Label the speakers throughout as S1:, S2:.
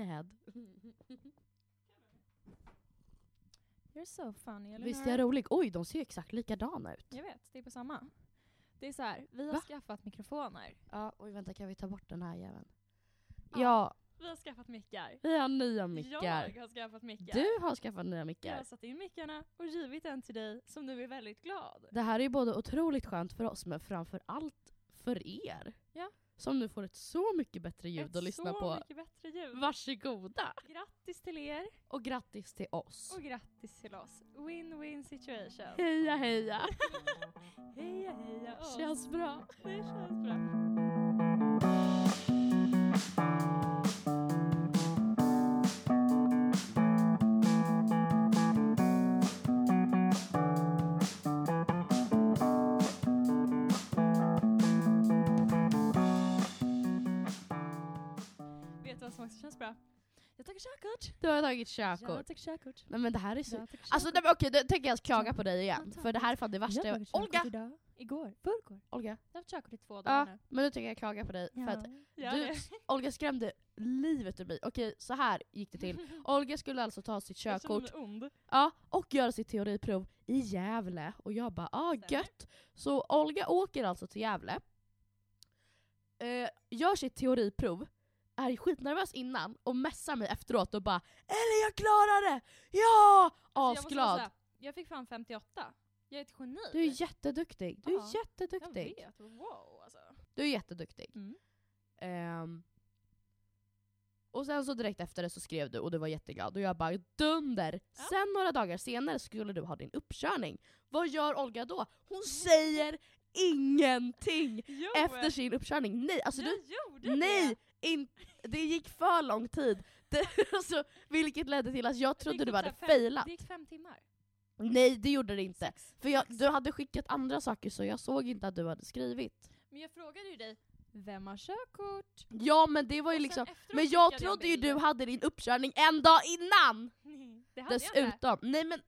S1: ahead.
S2: You're so funny, Eleanor.
S1: Visst är jag rolig? Oj, de ser ju exakt likadana ut.
S2: Jag vet, det är på samma. Det är så här, vi har
S1: Va?
S2: skaffat mikrofoner.
S1: Ja, oj vänta, kan vi ta bort den här jäveln?
S2: Ja.
S1: Ja,
S2: Vi har skaffat mickar.
S1: vi har nya mickar.
S2: Jag har skaffat mickar.
S1: Du har skaffat nya
S2: Jag har
S1: mickar.
S2: satt in mickarna och givit en till dig som nu är väldigt glad.
S1: Det här är ju både otroligt skönt för oss, men framför allt för er.
S2: Ja.
S1: Som nu får ett så mycket bättre ljud
S2: Ett
S1: att lyssna
S2: så
S1: på.
S2: mycket bättre ljud.
S1: Varsågoda!
S2: Grattis till er
S1: Och grattis till oss.
S2: och grattis till oss. Win-win situation.
S1: Heja heja!
S2: Heja heja oss.
S1: Känns bra.
S2: Det känns bra. Vet du vad som också känns bra? Jag tar körkort!
S1: Du har tagit
S2: Jag
S1: körkort.
S2: tar körkort.
S1: Nej men det här är så...
S2: Jag tar
S1: Alltså
S2: körkort.
S1: nej, men okej, då tänker jag klaga på dig igen.
S2: Ja, tack.
S1: För det här är fan det värsta
S2: jag
S1: jag...
S2: tog körkort
S1: Olga!
S2: idag. Igår. Förrgår.
S1: Olga.
S2: Jag har haft körkort i två dagar
S1: Ja,
S2: nu.
S1: men nu tänker jag klaga på dig. För att
S2: Ja,
S1: du-
S2: det.
S1: Olga skrämde livet ur mig. Okej, så här gick det till. Olga skulle alltså ta sitt
S2: Jag känner
S1: körkort
S2: mig ond.
S1: ja, och göra sitt teoriprov i Gävle. Och jag bara, ah
S2: Stämmer.
S1: gött. Så Olga åker alltså till Gävle, eh, gör sitt teoriprov, är skitnervös innan och messar mig efteråt och bara Eller jag klarar det! Ja!
S2: Alltså, jag måste bara
S1: Asglad!
S2: säga, Jag fick fan 58. Jag är ett geni.
S1: du är jätteduktig, du är
S2: Ja,
S1: jätteduktig.
S2: Jag vet, wow alltså.
S1: Du är jätteduktig.
S2: Mm.
S1: Ehm. och sen så direkt efter det så skrev du och du var jätteglad och jag bara dunder!
S2: Ja.
S1: Sen några dagar senare skulle du ha din uppkörning. Vad gör Olga då? Hon säger ingenting
S2: Jo,
S1: efter sin uppkörning. Nej, alltså
S2: jag
S1: du,
S2: gjorde
S1: nej!
S2: det!
S1: In, det gick för lång tid. Det, alltså, vilket ledde till att jag
S2: Det gick
S1: trodde du
S2: typ
S1: hade
S2: så här fem-
S1: failat.
S2: Det gick fem timmar.
S1: Nej det gjorde det inte.
S2: Sex.
S1: För jag, du hade skickat andra saker så jag såg inte att du hade skrivit.
S2: Men jag frågade ju dig, vem har körkort?
S1: Ja men det var
S2: Och
S1: ju
S2: sen
S1: liksom
S2: efteråt
S1: Men jag
S2: skickade en
S1: trodde ju
S2: bild.
S1: du hade din uppkörning en dag innan!
S2: Nej, Det hade jag inte.
S1: Dessutom. Nej men...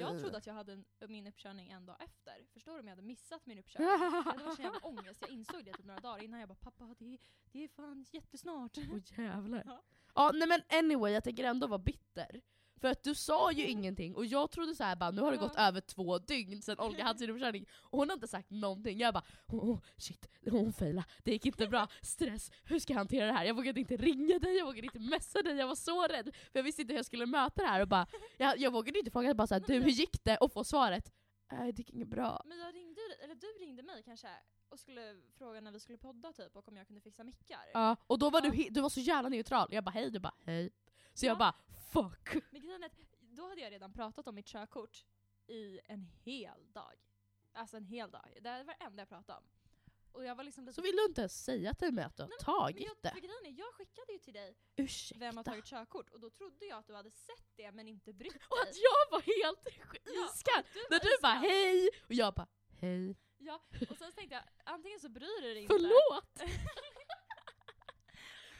S2: Jag trodde att jag hade en, min uppkörning en dag efter. Förstår du om jag hade missat min uppkörning? Det var sån jävla ångest, jag insåg det typ några dagar innan. Jag bara pappa det är, det är fan jättesnart.
S1: Åh jävlar.
S2: Ja.
S1: Ja nej men anyway, jag tänker ändå vara bitter. För att du sa ju ingenting och jag trodde så här bara nu har det gått
S2: Mm. Ja.
S1: över två dygn sedan Olga hade sin uppkörning och hon har inte sagt någonting. Jag bara oh, oh, shit, hon failade, det gick inte bra, stress, hur ska jag hantera det här? Jag vågade inte ringa dig, jag vågade inte messa dig, jag var så rädd för jag visste inte hur jag skulle möta det här och bara jag, jag vågade inte fråga bara så här, du hur gick det? Och få svaret nej det gick inget bra.
S2: Men jag ringde, ju- eller du ringde mig kanske och skulle fråga när vi skulle podda typ och om jag kunde fixa mickar.
S1: Ja, och då var
S2: Ja.
S1: du, he- du var så jävla neutral. Jag bara hej, du bara hej. Så jag
S2: Ja.
S1: bara fuck.
S2: Men grejen är att då hade jag redan pratat om mitt körkort i en hel dag. Alltså en hel dag. Det här var det enda jag pratade om. Och jag var liksom lite...
S1: Så vill du inte ens säga till mig att du har
S2: Nej, men
S1: tagit
S2: jag,
S1: det?
S2: för grejen är, jag skickade ju till dig
S1: Ursäkta.
S2: vem har tagit körkort och då trodde jag att du hade sett det men inte brytt dig.
S1: Och att jag var helt
S2: Ja, och
S1: iskall.
S2: att du var
S1: När du bara
S2: iskall.
S1: hej och jag bara hej.
S2: Ja, och sen så tänkte jag antingen så bryr du dig inte.
S1: Förlåt!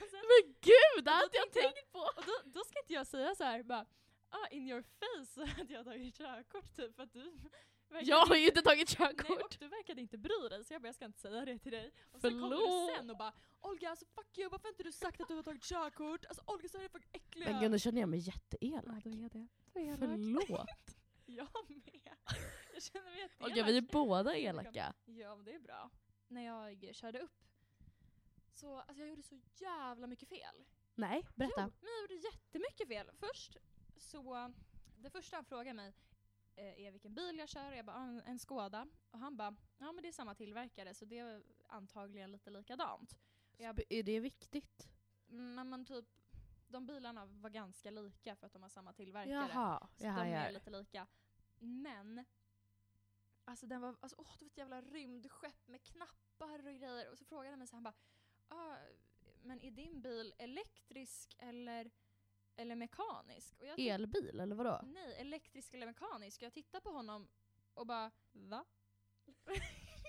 S2: Och sen-
S1: Men gud, det hade jag
S2: tänkte jag-
S1: tänkt på!
S2: Och då, då ska inte jag säga så här bara ah, in your face att jag har tagit körkort typ för att du verkade
S1: Jag har
S2: inte-
S1: ju inte tagit
S2: Nej, och
S1: körkort.
S2: du verkade inte bry dig så jag bara jag ska inte säga det till dig. Och sen kommer
S1: Förlåt.
S2: du sen och bara Olga alltså fuck you varför har inte du sagt att du har tagit körkort? Alltså Olga så är det för äckliga.
S1: Men gud, nu känner jag mig
S2: ja,
S1: jätteelak.
S2: då är det. Då är jag
S1: Förlåt.
S2: Jag med. Jag känner mig jätteelak.
S1: Olga, vi är båda elaka.
S2: Ja men det är bra. När jag körde upp så alltså jag gjorde så jävla mycket fel.
S1: Nej, berätta.
S2: Jo, men jag gjorde jättemycket fel. Först så, det första han frågar mig eh, är vilken bil jag kör och jag bara "Ah, en- en Skoda. Och han bara ja men det är samma tillverkare så det är antagligen lite likadant. Jag-
S1: Är det viktigt?
S2: Men, men typ de bilarna var ganska lika för att de har samma tillverkare.
S1: Jaha,
S2: Så
S1: jaha,
S2: Alltså, de är
S1: jaha.
S2: lite lika. Men, alltså den var, alltså, åh det var ett jävla rymdskepp med knappar och grejer. Och så frågade han mig så han bara, ah, men är din bil elektrisk eller, eller mekanisk? Och jag titt-
S1: Elbil eller vadå?
S2: Nej, elektrisk eller mekanisk. Jag tittar på honom och bara, va?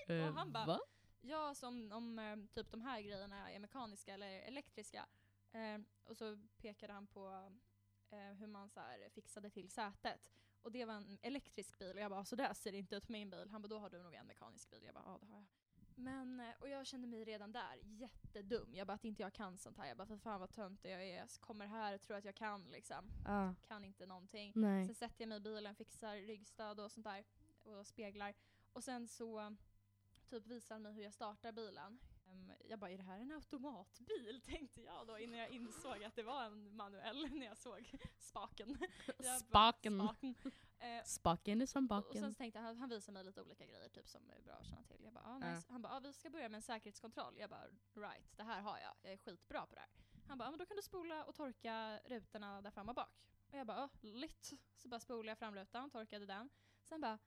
S1: Eh,
S2: han bara,
S1: va?
S2: Ja, som om eh, typ de här grejerna är mekaniska eller elektriska. Eh, och så pekade han på eh, hur man så här fixade till sätet. Och det var en elektrisk bil och jag bara, så där ser det inte ut på min bil. Han bara, då har du nog en mekanisk bil. Jag bara, ja det har jag. Men, eh, och jag kände mig redan där jättedum. Jag bara att inte jag kan sånt här. Jag bara för fan vad töntig jag är. Jag kommer här och tror att jag kan liksom.
S3: Ja.
S2: Kan inte någonting.
S3: Nej.
S2: Sen sätter jag mig i bilen, fixar ryggstöd och sånt där. Och speglar. Och sen så typ visar han mig hur jag startar bilen. Ehm, Jag bara, är det här en automatbil? Tänkte jag då innan jag insåg att det var en manuell när jag såg spaken. Jag bara,
S3: Spaken.
S2: spaken. Eh,
S3: Spaken är som
S2: och, och
S3: baken.
S2: sen så tänkte jag, han, han visar mig lite olika grejer typ som är bra att känna till. Jag bara, ah,
S3: Ja.
S2: nice. Han bara, ah, vi ska börja med en säkerhetskontroll. Jag bara, right, det här har jag. Jag är skitbra på det här. Han bara, ah, men då kan du spola och torka rutorna där fram och bak. Och jag bara, ah, lit. Så bara spolade jag framrutan, torkade den. Sen bara,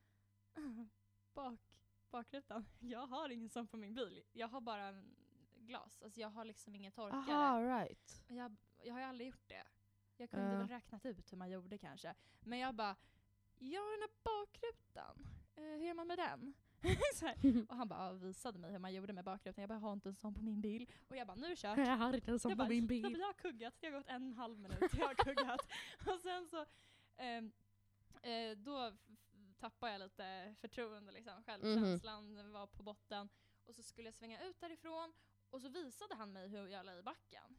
S2: bak, bakrutan. Jag har ingen sån på min bil. Jag har bara en glas. Alltså jag har liksom ingen torkare.
S1: Aha, right.
S2: Och Jag, jag har ju aldrig gjort det. Jag kunde
S1: Ja.
S2: väl räknat ut hur man gjorde kanske. Men jag bara, jag har den här bakrutan. Eh, hur gör man med den? så här. Och han bara visade mig hur man gjorde med bakrutan. Jag bara, har inte en sån på min bil. Och jag bara, nu kör
S3: jag har inte en sån
S2: jag
S3: på
S2: bara,
S3: min
S2: Nej, men
S3: bil.
S2: jag har kuggat, det har gått en och en halv minut, jag har kuggat. och sen så, ehm, eh, då f- tappade jag lite förtroende liksom, självkänslan
S3: Mhm.
S2: var på botten. Och så skulle jag svänga ut därifrån och så visade han mig hur jag la i backen.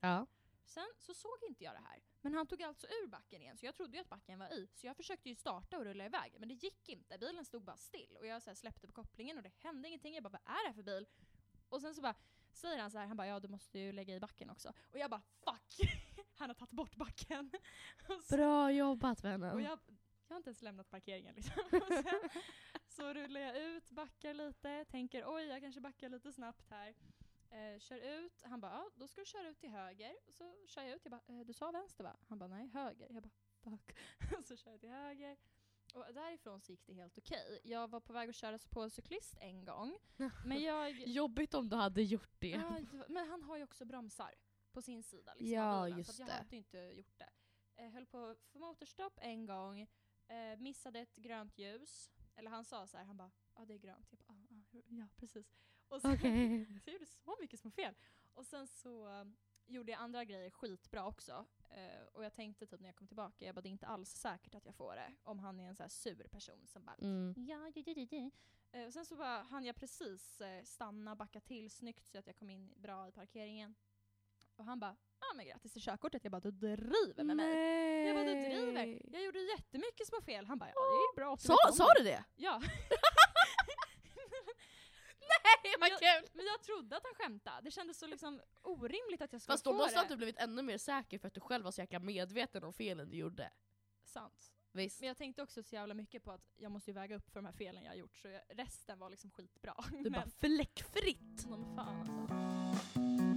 S3: Ja.
S2: Sen så såg inte jag det här. Men han tog alltså ur backen igen, så jag trodde ju att backen var i. Så jag försökte ju starta och rulla iväg, men det gick inte. Bilen stod bara still och jag så här släppte på kopplingen och det hände ingenting. Jag bara, vad är det här för bil? Och sen så bara säger han så här, han bara, ja du måste ju lägga i backen också. Och jag bara, fuck! Han har tagit bort backen. Och så-
S3: Bra jobbat vännen.
S2: och jag, jag har inte ens lämnat parkeringen liksom. Och sen, så rullar jag ut, backar lite, tänker oj jag kanske backar lite snabbt här. Eh, kör ut, han bara ja, då ska du köra ut till höger. Och så kör jag ut, jag bara eh, du sa vänster va? Han bara nej höger. Jag bara fuck. så kör jag till höger. Och därifrån så gick det helt okej. Jag var på väg att köra på en cyklist en gång. Men jag...
S3: Jobbigt om du hade gjort det.
S2: Ja, Ah, det var- men han har ju också bromsar på sin sida. Liksom,
S1: Ja,
S2: av bilen,
S1: just
S2: så att
S1: det.
S2: jag hade ju inte gjort det. Eh, höll på för motorstopp en gång, eh, missade ett grönt ljus. Eller han sa så här, han bara ja ah, det är grönt. Jag bara, ah, ah, ja precis. Och sen,
S3: Okej.
S2: så jag gjorde så mycket små fel. Och sen så eh, gjorde jag andra grejer skitbra också. Eh, och jag tänkte typ när jag kom tillbaka, jag bara det är inte alls säkert att jag får det. Om han är en så här sur person som bara
S3: Mm.
S2: Ja, ja, ja, ja, ja. Eh, och sen så bara, hann jag precis eh, stanna och backa till snyggt så att jag kom in bra i parkeringen. Och han bara ja men grattis till körkortet. Jag bara du driver med mig.
S1: Nej.
S2: Jag bara du driver. Jag gjorde jättemycket små fel. Han bara ja det är bra. att du
S1: Sa,
S2: vet om
S1: sa
S2: det."
S1: du det?
S2: Ja.
S3: Vad
S2: Jag-
S3: kul!
S2: Men jag trodde att han skämtade. Det kändes så liksom orimligt att jag skulle
S3: Fast då
S2: få
S3: måste
S2: det.
S3: att du typ blivit ännu mer säker för att du själv var så jäkla medveten om felen du gjorde.
S2: Sant.
S3: Visst.
S2: Men jag tänkte också så jävla mycket på att jag måste ju väga upp för de här felen jag har gjort. Så jag, resten var liksom skitbra.
S3: Du bara fläckfritt!
S2: Som de fan alltså.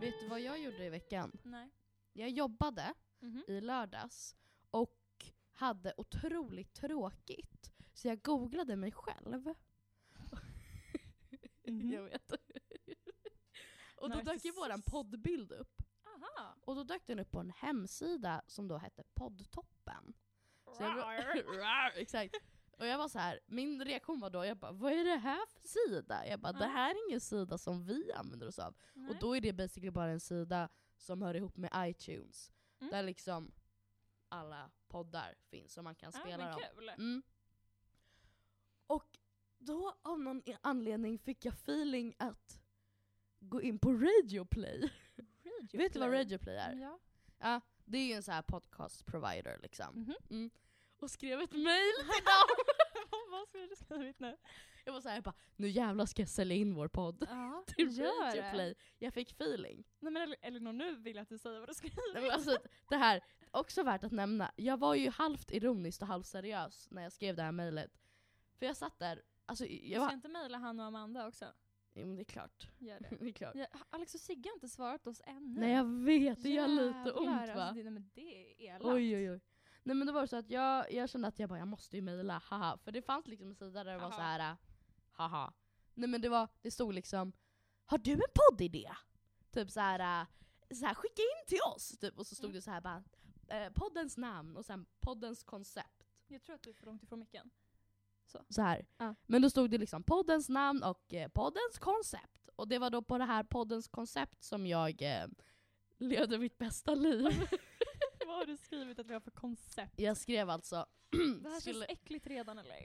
S1: Vet du vad jag gjorde i veckan?
S2: Nej.
S1: Jag jobbade
S2: Mhm.
S1: i lördags och hade otroligt tråkigt. Så jag googlade mig själv. Jag vet. Och då dök ju våran
S2: Narcissist.
S1: poddbild upp.
S2: Aha.
S1: Och då dök den upp på en hemsida som då hette Poddtoppen. Så jag
S2: Rar.
S1: var, Rar, exakt. Och jag var så här, min reaktion var då, jag bara vad är det här för sida? Jag bara det
S2: Mm.
S1: här är ingen sida som vi använder oss av.
S2: Nej.
S1: Och då är det basically bara en sida som hör ihop med iTunes.
S2: Mm.
S1: Där liksom alla poddar finns som man kan
S2: Ja,
S1: spela
S2: Ah, men
S1: dem.
S2: kul.
S1: Mm. Och då av någon i- anledning fick jag feeling att gå in på Radio Play. Vet du vad
S2: Play. Mm.
S1: Radio Play är?
S2: Ja.
S1: Ja, det är ju en sån här podcast provider liksom.
S2: Mhm.
S1: Mm. Och skrev ett mail till dem.
S2: vad skulle du skrivit nu?
S1: jag var såhär, jag bara, nu jävlar ska jag sälja in vår podd
S2: Ja,
S1: till Radio Play. Jag fick feeling.
S2: Nej men El- Elinor nu vill jag att du säger vad du skriver.
S1: Nej, men alltså, det här, också värt att nämna, jag var ju halvt ironiskt och halvt seriös när jag skrev det här mejlet. För jag satt där, alltså jag
S2: Ska
S1: var,
S2: inte mejla han och Amanda också?
S1: jo men det är klart.
S2: Gör det.
S1: Det är klart.
S2: Ja, Alex och Sigge har inte svarat oss ännu.
S1: Nej jag vet, det gör lite
S2: Jävlar,
S1: ont
S2: Alltså,
S1: va?
S2: det, nej men det är elakt.
S1: Oj oj oj. Nej men det var så att jag, jag kände att jag bara, jag måste ju mejla, haha. För det fanns liksom en sida där det var
S2: Haha.
S1: så här, äh, haha. Nej men det var, det stod liksom, har du en poddidé? Typ så här, äh, så här skicka in till oss! Typ. Och så stod
S2: Mm.
S1: det så här bara, eh, poddens namn och sen poddens koncept.
S2: Jag tror att du är för långt ifrån micken. Så.
S1: så här.
S2: Ja.
S1: Men då stod det liksom poddens namn och eh, poddens koncept. Och det var då på det här poddens koncept som jag eh, levde mitt bästa liv.
S2: Vad har du skrivit att vi har för koncept?
S1: jag skrev alltså...
S2: Det här
S1: skulle,
S2: känns äckligt redan eller?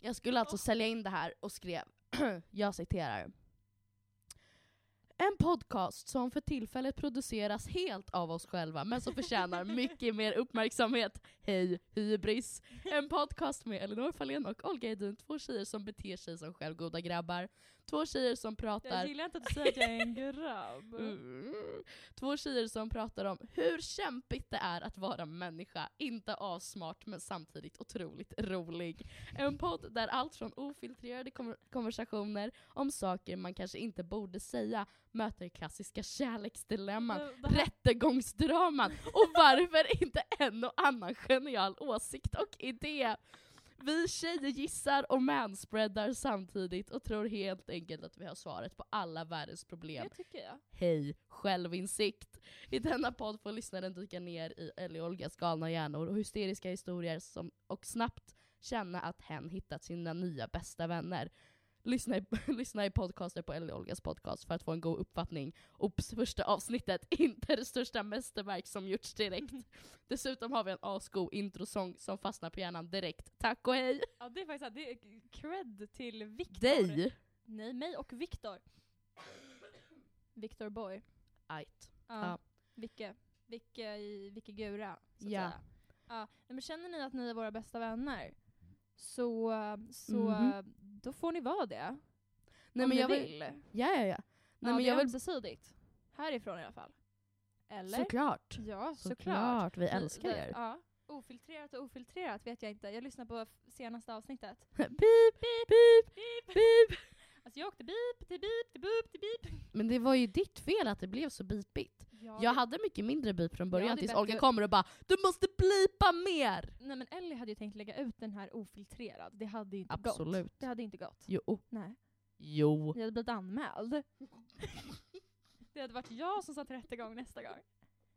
S1: jag skulle alltså sälja in det här och skrev, jag citerar. En podcast som för tillfället produceras helt av oss själva men som förtjänar mycket mer uppmärksamhet. Hej hybris! En podcast med Elinor Fahlén och Olga Edin, två tjejer som beter sig som självgoda grabbar. Två tjejer som pratar...
S2: Jag gillar inte att du säger att jag är en grabb.
S1: Mm. Två tjejer som pratar om hur kämpigt det är att vara människa, inte avsmart men samtidigt otroligt rolig. En podd där allt från ofiltrerade kom- konversationer om saker man kanske inte borde säga möter klassiska kärleksdilemman,
S2: Det- det här-
S1: rättegångsdraman och varför inte en och annan genial åsikt och idé. Vi tjejer gissar och manspreadar samtidigt och tror helt enkelt att vi har svaret på alla världens problem.
S2: Det tycker jag.
S1: Hej självinsikt. I denna podd får lyssnaren dyka ner i Ellie och Olgas galna hjärnor och hysteriska historier som, och snabbt känna att hen hittat sina nya bästa vänner. Lyssna i, lyssna i podcaster på Ellie och Olgas podcast för att få en god uppfattning. Oops, första avsnittet, inte det största mästerverk som gjorts direkt. Dessutom har vi en asgo introsång som fastnar på hjärnan direkt. Tack och hej!
S2: Ja, det är faktiskt det är cred till Viktor.
S1: Dig!
S2: Nej, mig och Viktor. Viktor Boy.
S1: Ajt.
S2: Ja.
S1: Ja.
S2: Vicke. Vicke i Vicke Gura. Så att
S1: Ja.
S2: säga. ja. Nej, Men känner ni att ni är våra bästa vänner så, så
S1: Mhm.
S2: då får ni vara det.
S1: Nej men
S2: om ni
S1: jag vill...
S2: vill. Nej,
S1: Ja, ja, ja. Nej
S2: ja,
S1: men
S2: det
S1: jag
S2: är
S1: vill...
S2: ömsesidigt. Härifrån i alla fall. Eller?
S1: Såklart.
S2: Ja, såklart.
S1: Såklart, vi
S2: Vi-
S1: älskar
S2: vi-
S1: er.
S2: Ja. Ofiltrerat och ofiltrerat vet jag inte. Jag lyssnade på f- senaste avsnittet.
S1: Pip, pip, pip.
S2: Alltså jag åkte bip till bip till bup till bip.
S1: Men det var ju ditt fel att det blev så bipigt.
S2: Ja,
S1: Jag hade mycket mindre bip från början
S2: Ja, det är
S1: tills
S2: bättre-
S1: Olga kommer och bara Du måste blipa mer!
S2: Nej men Ellie hade ju tänkt lägga ut den här ofiltrerad. Det hade ju inte gått.
S1: Absolut.
S2: Det hade inte gått.
S1: Jo. oh,
S2: Nej.
S1: Jo.
S2: Jag hade blivit anmäld. Det hade varit jag som satt rättegång nästa gång.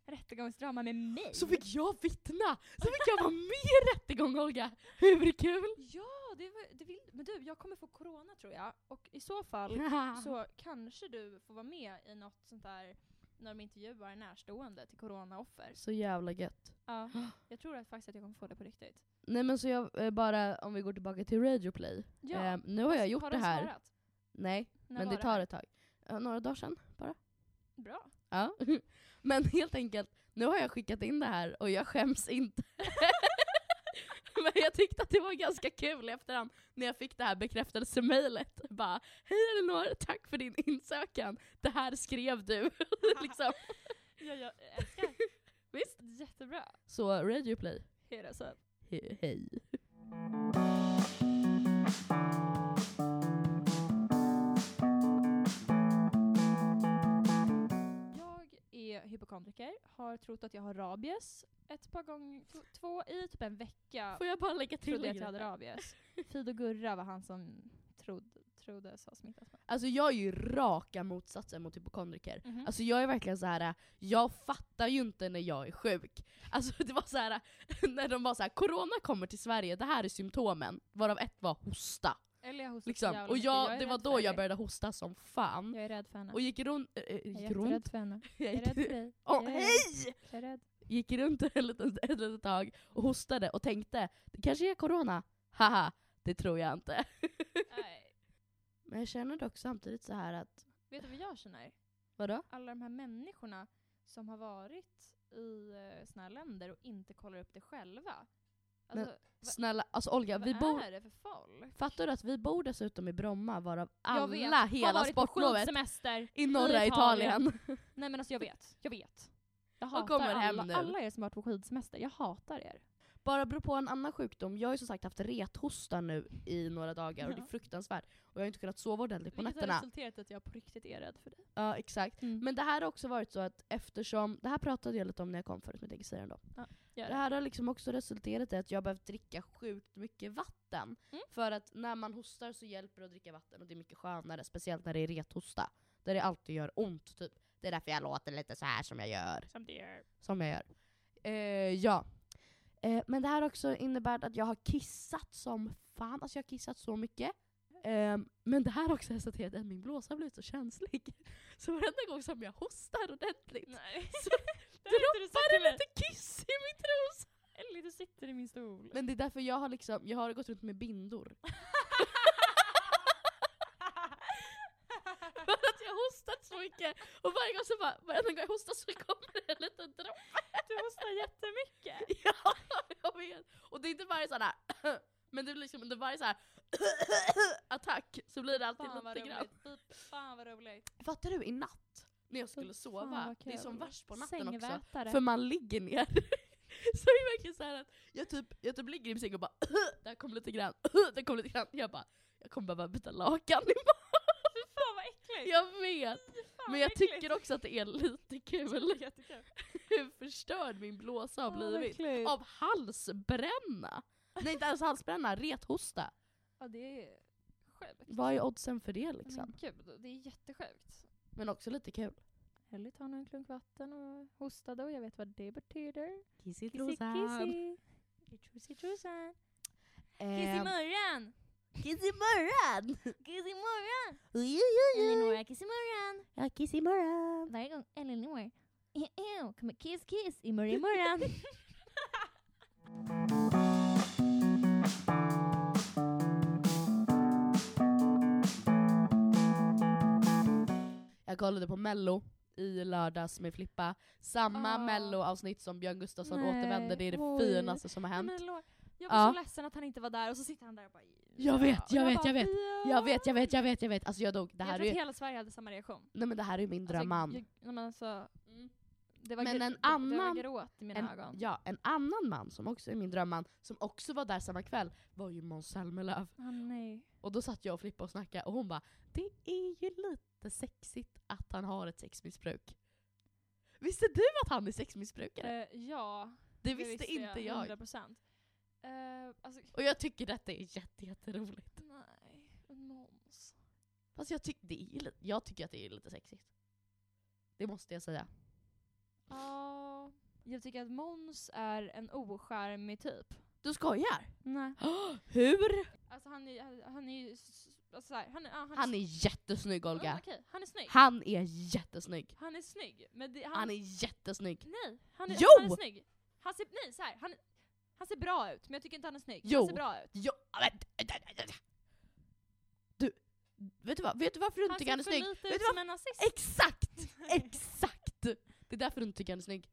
S2: Rättegångsdrama med mig.
S1: Så fick jag vittna! Så fick jag vara med i rättegång Olga! Hur kul?
S2: Ja, det, var, det vill, men du, jag kommer få corona tror jag. Och i så fall så kanske du får vara med i något sånt där när de intervjuar närstående till coronaoffer.
S1: Så jävla gött.
S2: Ja, jag tror att faktiskt att jag kommer få det på riktigt.
S1: Nej men så jag, eh, bara om vi går tillbaka till Radio Play.
S2: Ja.
S1: Eh, nu har jag gjort
S2: Alltså, har
S1: det
S2: de
S1: här.
S2: Svarat?
S1: Nej,
S2: När
S1: men
S2: var
S1: det tar
S2: här?
S1: ett tag. Eh, några dagar sedan.
S2: Bra.
S1: Ja. Men helt enkelt, nu har jag skickat in det här och jag skäms inte. Men jag tyckte att det var ganska kul i efterhand när jag fick det här bekräftelsemejlet. Bara “Hej Elinor, tack för din insökan. Det här skrev du”. liksom.
S2: Ja, jag älskar.
S1: Visst?
S2: Jättebra.
S1: Så Radio Play,
S2: Hej då, så.
S1: He- hej.
S2: Jag är hypokondriker, har trott att jag har rabies ett par gånger, t- två i typ en vecka.
S1: Får jag bara lägga till
S2: trodde jag
S1: en
S2: att jag hade
S1: grej?
S2: rabies. Fido Gurra var han som trodde, troddes ha smittats med.
S1: Alltså jag är ju raka motsatsen mot hypokondriker.
S2: Mhm. Mm.
S1: Alltså jag är verkligen så här. jag fattar ju inte när jag är sjuk. Alltså det var så här när de var så här: corona kommer till Sverige, det här är symptomen. Varav ett var hosta.
S2: Eller jag hostade så
S1: Liksom.
S2: jävla
S1: Och
S2: mycket.
S1: jag,
S2: är
S1: det var
S2: rädd
S1: då
S2: för
S1: jag
S2: henne.
S1: började hosta som fan.
S2: Jag är rädd för henne.
S1: Och gick runt... Äh,
S2: jag är
S1: gick
S2: jätterädd
S1: runt?
S2: för henne. Jag är
S1: Jag
S2: rädd för
S1: gick,
S2: dig.
S1: Åh,
S2: jag är
S1: hej!
S2: Jag är rädd.
S1: gick runt ett litet, ett litet tag och hostade och tänkte, det kanske är corona. Haha, det tror jag inte.
S2: Nej.
S1: Men jag känner dock samtidigt så här att,
S2: Vet du vad jag känner?
S1: vadå?
S2: Alla de här människorna som har varit i eh, såna här länder och inte kollar upp det själva.
S1: Men-
S2: Alltså, Va-
S1: Snälla, alltså Olga,
S2: vad
S1: vi bor...
S2: är det för folk?
S1: Fattar du att vi bor dessutom i Bromma varav alla,
S2: vet. har
S1: hela
S2: varit på
S1: sportlovet
S2: skidsemester.
S1: I norra
S2: I
S1: Italien.
S2: Italien. Nej men alltså jag vet, jag vet. Jag
S1: Och
S2: hatar
S1: kommer
S2: alla,
S1: hem nu.
S2: alla er som har varit på skidsemester, jag hatar er.
S1: Bara beror på en annan sjukdom. Jag har ju som sagt haft rethosta nu i några dagar och det är
S2: Ja.
S1: fruktansvärt. Och jag har inte kunnat sova ordentligt på
S2: Vilket har
S1: nätterna.
S2: resulterat i att jag på riktigt är rädd för dig.
S1: Ja, exakt.
S2: Mm.
S1: Men det här har också varit så att eftersom, det här pratade jag lite om när jag kom förut men jag tänker säga det ändå.
S2: Gör
S1: Det här har liksom också resulterat i att jag har behövt dricka sjukt mycket vatten.
S2: Mm.
S1: För att när man hostar så hjälper det att dricka vatten och det är mycket skönare. Speciellt när det är rethosta. Där det alltid gör ont typ. Det är därför jag låter lite så här som jag gör.
S2: Som det är.
S1: Som jag gör. Eh, ja. Eh, men det här har också innebär att jag har kissat som fan. Alltså jag har kissat så mycket. Ehm, men det här har också resulterat i att min blåsa har blivit så känslig. Så varenda gång som jag hostar ordentligt
S2: Nej.
S1: så
S2: Där sitter du och
S1: droppar det
S2: sitter
S1: lite kiss i min trosa.
S2: Eller du sitter i min stol.
S1: Men det är därför jag har, liksom, jag har gått runt med bindor. För att jag hostat så mycket. Och varje gång, så bara, varenda gång jag hostar så kommer det en liten droppe.
S2: du hostar jättemycket.
S1: Ja, jag vet. Och det är inte varje sån här men det blir liksom under varje så här attack så blir det alltid
S2: Fan vad
S1: lite grann.
S2: roligt. Fy Fan vad roligt.
S1: Fattar du i natt? När jag skulle
S2: Fy fan,
S1: sova.
S2: vad
S1: Det är som
S2: kul.
S1: värst på natten också.
S2: Sängvätare.
S1: För man ligger ner. så det är verkligen så här att jag typ, jag typ ligger i min säng och bara där kom lite grann, där kom lite grann. Jag bara, jag kommer behöva byta lakan imorgon.
S2: Fy fan vad äckligt.
S1: Jag vet.
S2: Fan,
S1: Men jag
S2: vad äckligt.
S1: tycker också att det är lite kul
S2: Jättekul.
S1: hur förstörd min blåsa har
S2: Fan, vad
S1: blivit.
S2: äckligt.
S1: Av halsbränna! Nej inte alls halsbränna, rethosta.
S2: Ja det är sjukt.
S1: Vad är oddsen för det
S2: Men
S1: liksom?
S2: gud, det är jättesjukt.
S1: Men också lite kul.
S2: Ellie tar nu en klunk vatten och hostade och jag vet vad det betyder.
S1: Kissigt
S2: Kissy kissy. Tjusig tjosan.
S1: Ehm,
S2: Kiss i murran!
S1: Kiss i morgon!
S2: Kiss i murran!
S1: Oj, oj, oj.
S2: Elinora, kiss i murran!
S1: Ja, kiss i morgon!
S2: Varje gång Elinor Ew, kommer kiss kiss i murran i murran.
S1: Jag kollade på mello i lördags med Flippa. Samma
S2: Ah.
S1: mello-avsnitt som Björn Gustafsson
S2: Nej,
S1: återvände, det är det
S2: oj.
S1: finaste som har
S2: Nej,
S1: hänt.
S2: men Elinor, jag var
S1: Ja.
S2: så ledsen att han inte var där och så sitter han där och bara
S1: Jag vet,
S2: "Ja." Och
S1: jag vet,
S2: bara,
S1: jag vet.
S2: "Ja."
S1: Jag vet, jag vet, jag vet, jag vet. Alltså jag dog. Det
S2: jag
S1: här
S2: tror
S1: är
S2: att
S1: ju,
S2: hela Sverige hade samma reaktion.
S1: nej men det här är ju min drömman. Mm.
S2: Alltså, jag, nej, men alltså, det var
S1: Men
S2: gr-
S1: en
S2: det- Det var
S1: annan-
S2: gråt i mina
S1: En,
S2: ögon.
S1: ja, en annan man som också är min drömman, som också var där samma kväll, var ju Måns Zelmerlöw.
S2: Ah, nej.
S1: Och då satt jag och Flippa och snackade och hon bara “Det är ju lite sexigt att han har ett sexmissbruk”. Visste du att han är sexmissbrukare?
S2: Eh, ja,
S1: det visste inte jag.
S2: 100%. Uh, alltså,
S1: Och jag tycker detta är jätte, jätteroligt.
S2: nej. Men Måns.
S1: Fast jag, tyck, det är, ju li- jag tycker att det är lite sexigt. Det måste jag säga.
S2: Ja. jag tycker att Måns är en oskärmig typ.
S1: Du skojar?
S2: Nej.
S1: Hur?
S2: Alltså han är han- han är ju s- alltså, så här, han är, ja, han,
S1: Han är jättesnygg
S2: Ja,
S1: Olga.
S2: okej, han är snygg.
S1: Han är jättesnygg.
S2: Han är snygg. Men det, han,
S1: Han är jättesnygg.
S2: Nej, han är,
S1: Jo!
S2: han är snygg. Han ser, nej, så här, han, han ser bra ut, men jag tycker inte han är snygg.
S1: Jo.
S2: Han ser bra ut.
S1: Jo, men, du, vet du, vad, vet du varför du inte tycker han är
S2: ser
S1: snygg?
S2: för lite
S1: Vet
S2: ut
S1: du vad?
S2: som en nazist.
S1: Exakt! Exakt! Det är därför du inte tycker han är snygg.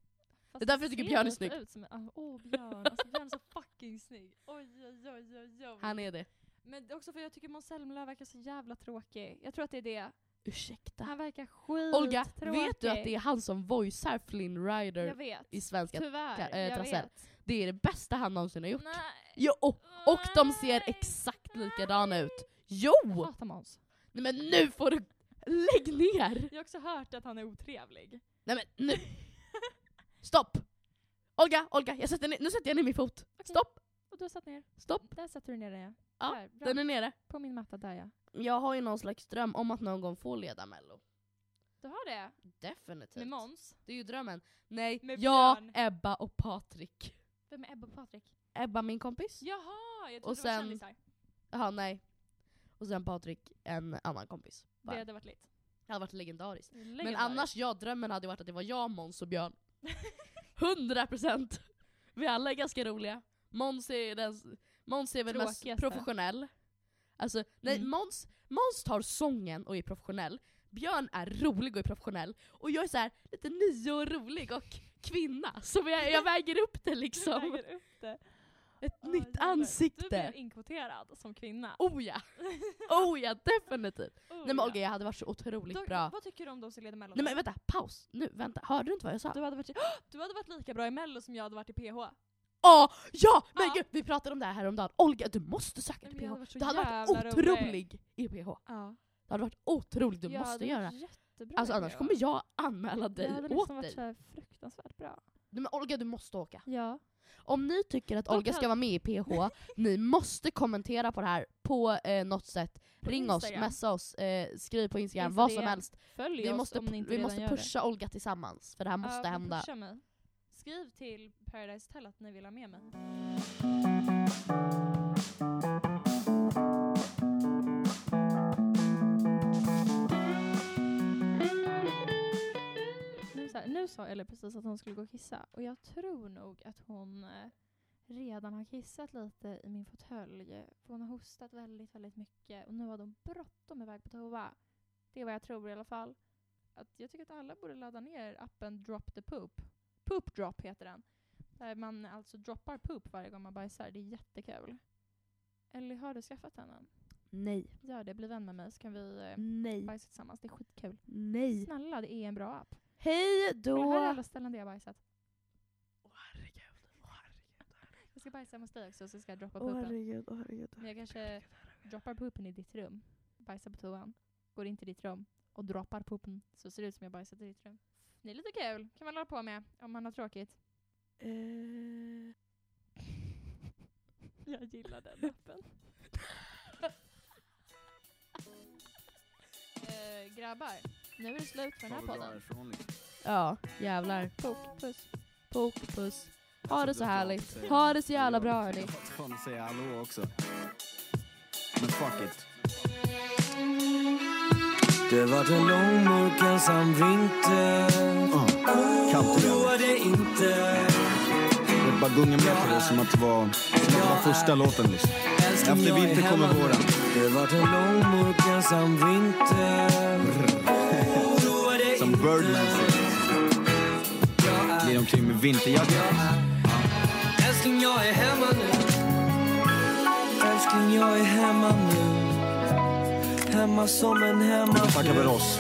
S2: Fast
S1: det är därför jag tycker
S2: ser
S1: Björn är
S2: lite
S1: snygg.
S2: Ut som en, ah, åh Björn, alltså Björn är så fucking snygg. Oj, oj, oj, oj, oj.
S1: Han är det.
S2: Men det är också för jag tycker Måns Zelmerlöw verkar så jävla tråkig. Jag tror att det är det.
S1: Ursäkta.
S2: Han verkar skittråkig.
S1: Olga, vet du att det är han som voicear Flynn
S2: Jag
S1: Rider
S2: vet.
S1: i svenska?
S2: Tyvärr,
S1: eh,
S2: jag
S1: trassel.
S2: vet.
S1: Det är det bästa han någonsin har gjort.
S2: Nej.
S1: Jo, och, och de ser
S2: Nej.
S1: exakt
S2: Nej.
S1: likadana ut.
S2: Jag
S1: Jo!
S2: hatar Måns.
S1: Nej men nu får du... Lägg ner!
S2: Jag har också hört att han är otrevlig.
S1: Nej men nu! Stopp! Olga, Olga, jag sätter ner, nu sätter jag ner min fot. Stopp,
S2: Och du har satt ner.
S1: stopp.
S2: Där satte du ner den ja.
S1: Ja,
S2: där, bra.
S1: Den är nere.
S2: På min matta där ja.
S1: Jag har ju någon slags dröm om att någon gång få leda mello.
S2: Du har det? Med
S1: Definitivt.
S2: Måns?
S1: Det är ju drömmen. Nej,
S2: Med
S1: jag,
S2: Björn.
S1: Ebba och Patrik.
S2: Vem är Ebba och Patrik?
S1: Ebba min kompis.
S2: Jaha! Jag trodde
S1: Och
S2: det var
S1: sen-
S2: kändisar.
S1: Jaha, nej. Och sen Patrik, en annan kompis.
S2: Det hade varit lit.
S1: Det hade varit legendariskt. Men
S2: Legendariskt.
S1: annars, jag drömmen hade varit att det var jag, Måns och Björn. 100 procent! Vi alla är ganska roliga. Måns är, den, Måns är väl mest
S2: Tråkigaste.
S1: professionell. Alltså, nej,
S2: Mm.
S1: Måns, Måns tar sången och är professionell. Björn är rolig och är professionell. Och jag är så här lite ny och rolig och kvinna. Så jag, jag väger upp det
S2: Du
S1: liksom.
S2: väger upp det.
S1: Ett
S2: Åh,
S1: nytt
S2: jävlar. Du
S1: ansikte.
S2: blev inkvoterad som kvinna.
S1: Oh ja! Oh ja, definitivt!
S2: Oh,
S1: Nej men
S2: ja.
S1: Olga, jag hade varit så otroligt
S2: Då-
S1: bra.
S2: Vad tycker du om de som leder Mello?
S1: Nej men vänta, paus! Nu, vänta. Hörde du inte vad jag sa?
S2: du, hade varit, du hade varit lika bra i Mello som jag hade varit i PH.
S1: Åh, ja! Men
S2: Ja.
S1: gud, vi pratade om det här häromdagen. Olga, du måste söka
S2: Nej,
S1: till
S2: men jag hade
S1: PH.
S2: varit så
S1: Du hade varit
S2: jävla
S1: otrolig i PH.
S2: Ja.
S1: Du hade varit otrolig, du måste göra. Alltså annars kommer jag anmäla dig
S2: Jag hade
S1: åt
S2: nästan
S1: dig.
S2: varit så här fruktansvärt bra.
S1: Nej, men Olga, du måste åka.
S2: Ja.
S1: Om ni tycker att
S2: Då
S1: Olga
S2: kan-
S1: ska vara med i PH, ni måste kommentera på det här på eh, något sätt.
S2: På
S1: Ring
S2: Instagram.
S1: oss, messa oss, eh, skriv på Instagram,
S2: Insta
S1: vad som
S2: DM.
S1: helst.
S2: Följ
S1: Vi
S2: oss
S1: måste,
S2: om ni inte
S1: vi
S2: redan
S1: måste
S2: gör det.
S1: pusha Olga tillsammans, för det här måste
S2: Ja,
S1: hända.
S2: Pusha mig. Skriv till Paradise Tell att ni vill ha med mig. Nu sa, nu sa Ellen precis att hon skulle gå och kissa och jag tror nog att hon eh, redan har kissat lite i min fåtölj. För hon har hostat väldigt, väldigt mycket och nu har de bråttom iväg på toa. Det är vad jag tror i alla fall. Att jag tycker att alla borde ladda ner appen Drop the Poop. Poop Drop heter den. Där man alltså droppar poop varje gång man bajsar. Det är jättekul. Eller har du skaffat den än?
S4: Nej.
S2: Gör det, bli vän med mig så kan vi eh,
S4: Nej.
S2: bajsa tillsammans. Det är skitkul.
S4: Nej.
S2: Snälla, det är en bra app.
S4: Hej
S2: För Det här är
S4: då!
S2: alla ställen där jag har bajsat.
S1: Åh herregud, åh herregud.
S2: Jag ska bajsa hos dig också så ska jag droppa
S4: Åh
S2: poopen.
S4: herregud, åh herregud.
S2: Men jag kanske droppar poopen i ditt rum. Bajsar på toan. Går in till ditt rum och droppar poopen. Så ser det ut som jag bajsat i ditt rum. Det är lite kul. kan man hålla på med om man har tråkigt.
S4: Eh,
S2: Jag gillar den appen. eh, grabbar, nu är det slut för den här podden.
S4: ja, jävlar.
S2: Pok, puss.
S4: Pok och puss.
S5: Ha det så härligt. Ha det så jävla bra hörni.
S6: Det vart en lång mörk ensam vinter
S7: Ah,
S6: Oroa dig inte
S7: Jag bara gungar med på det som att det var, som att det var första låten. Liksom.
S6: Älskling,
S7: Efter
S6: jag är
S7: vinter
S6: hemma
S7: kommer
S6: nu.
S7: våren.
S6: Det vart en lång mörk ensam vinter Oroa dig
S7: Som Birdman säger. Glider omkring med vinterjacka.
S6: Älskling, jag är hemma nu Älskling, jag är hemma nu Hemma som en
S7: Tackar för
S6: hemmafru
S7: oss.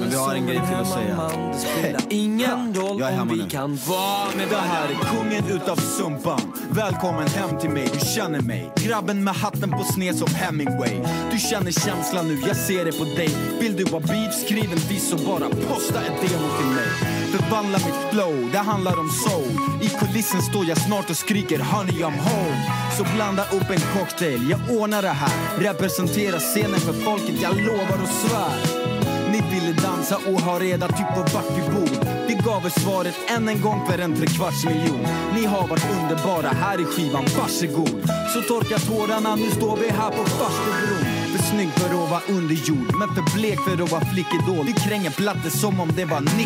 S6: Men
S7: vi har en grej till att säga.
S6: Det spelar ingen roll
S7: Jag är
S6: om
S7: hemma
S6: vi
S7: nu.
S6: kan vara med
S7: Det här är
S6: varandra
S7: kungen utav Sumpan. Välkommen hem till mig, du känner mig. Grabben med hatten på sned som Hemingway. Du känner känslan nu, jag ser det på dig. Vill du ha beef, skriv en diss och bara posta ett demo till mig. Förvandla mitt flow, det handlar om soul. I kulissen står jag snart och skriker honey I'm home. Så blanda upp en cocktail, jag ordnar det här. Representera scenen för folket, jag lovar och svär. Ni ville dansa och ha reda typ på vart vi bor Vi gav er svaret än en gång för en trekvarts miljon Ni har varit underbara, här i skivan, varsågod Så torka tårarna, nu står vi här på farstubron För snygg för att vara under jord, men för blek för att vara flickidol Vi kränger platte som om det var 92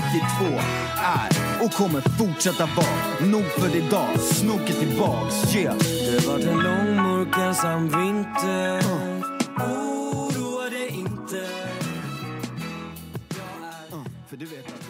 S7: Är och kommer fortsätta vara Nog för idag, snoket tillbaks, yeah
S6: Det vart en lång mörk ensam vinter Oroa dig inte Jag är
S7: För du vet att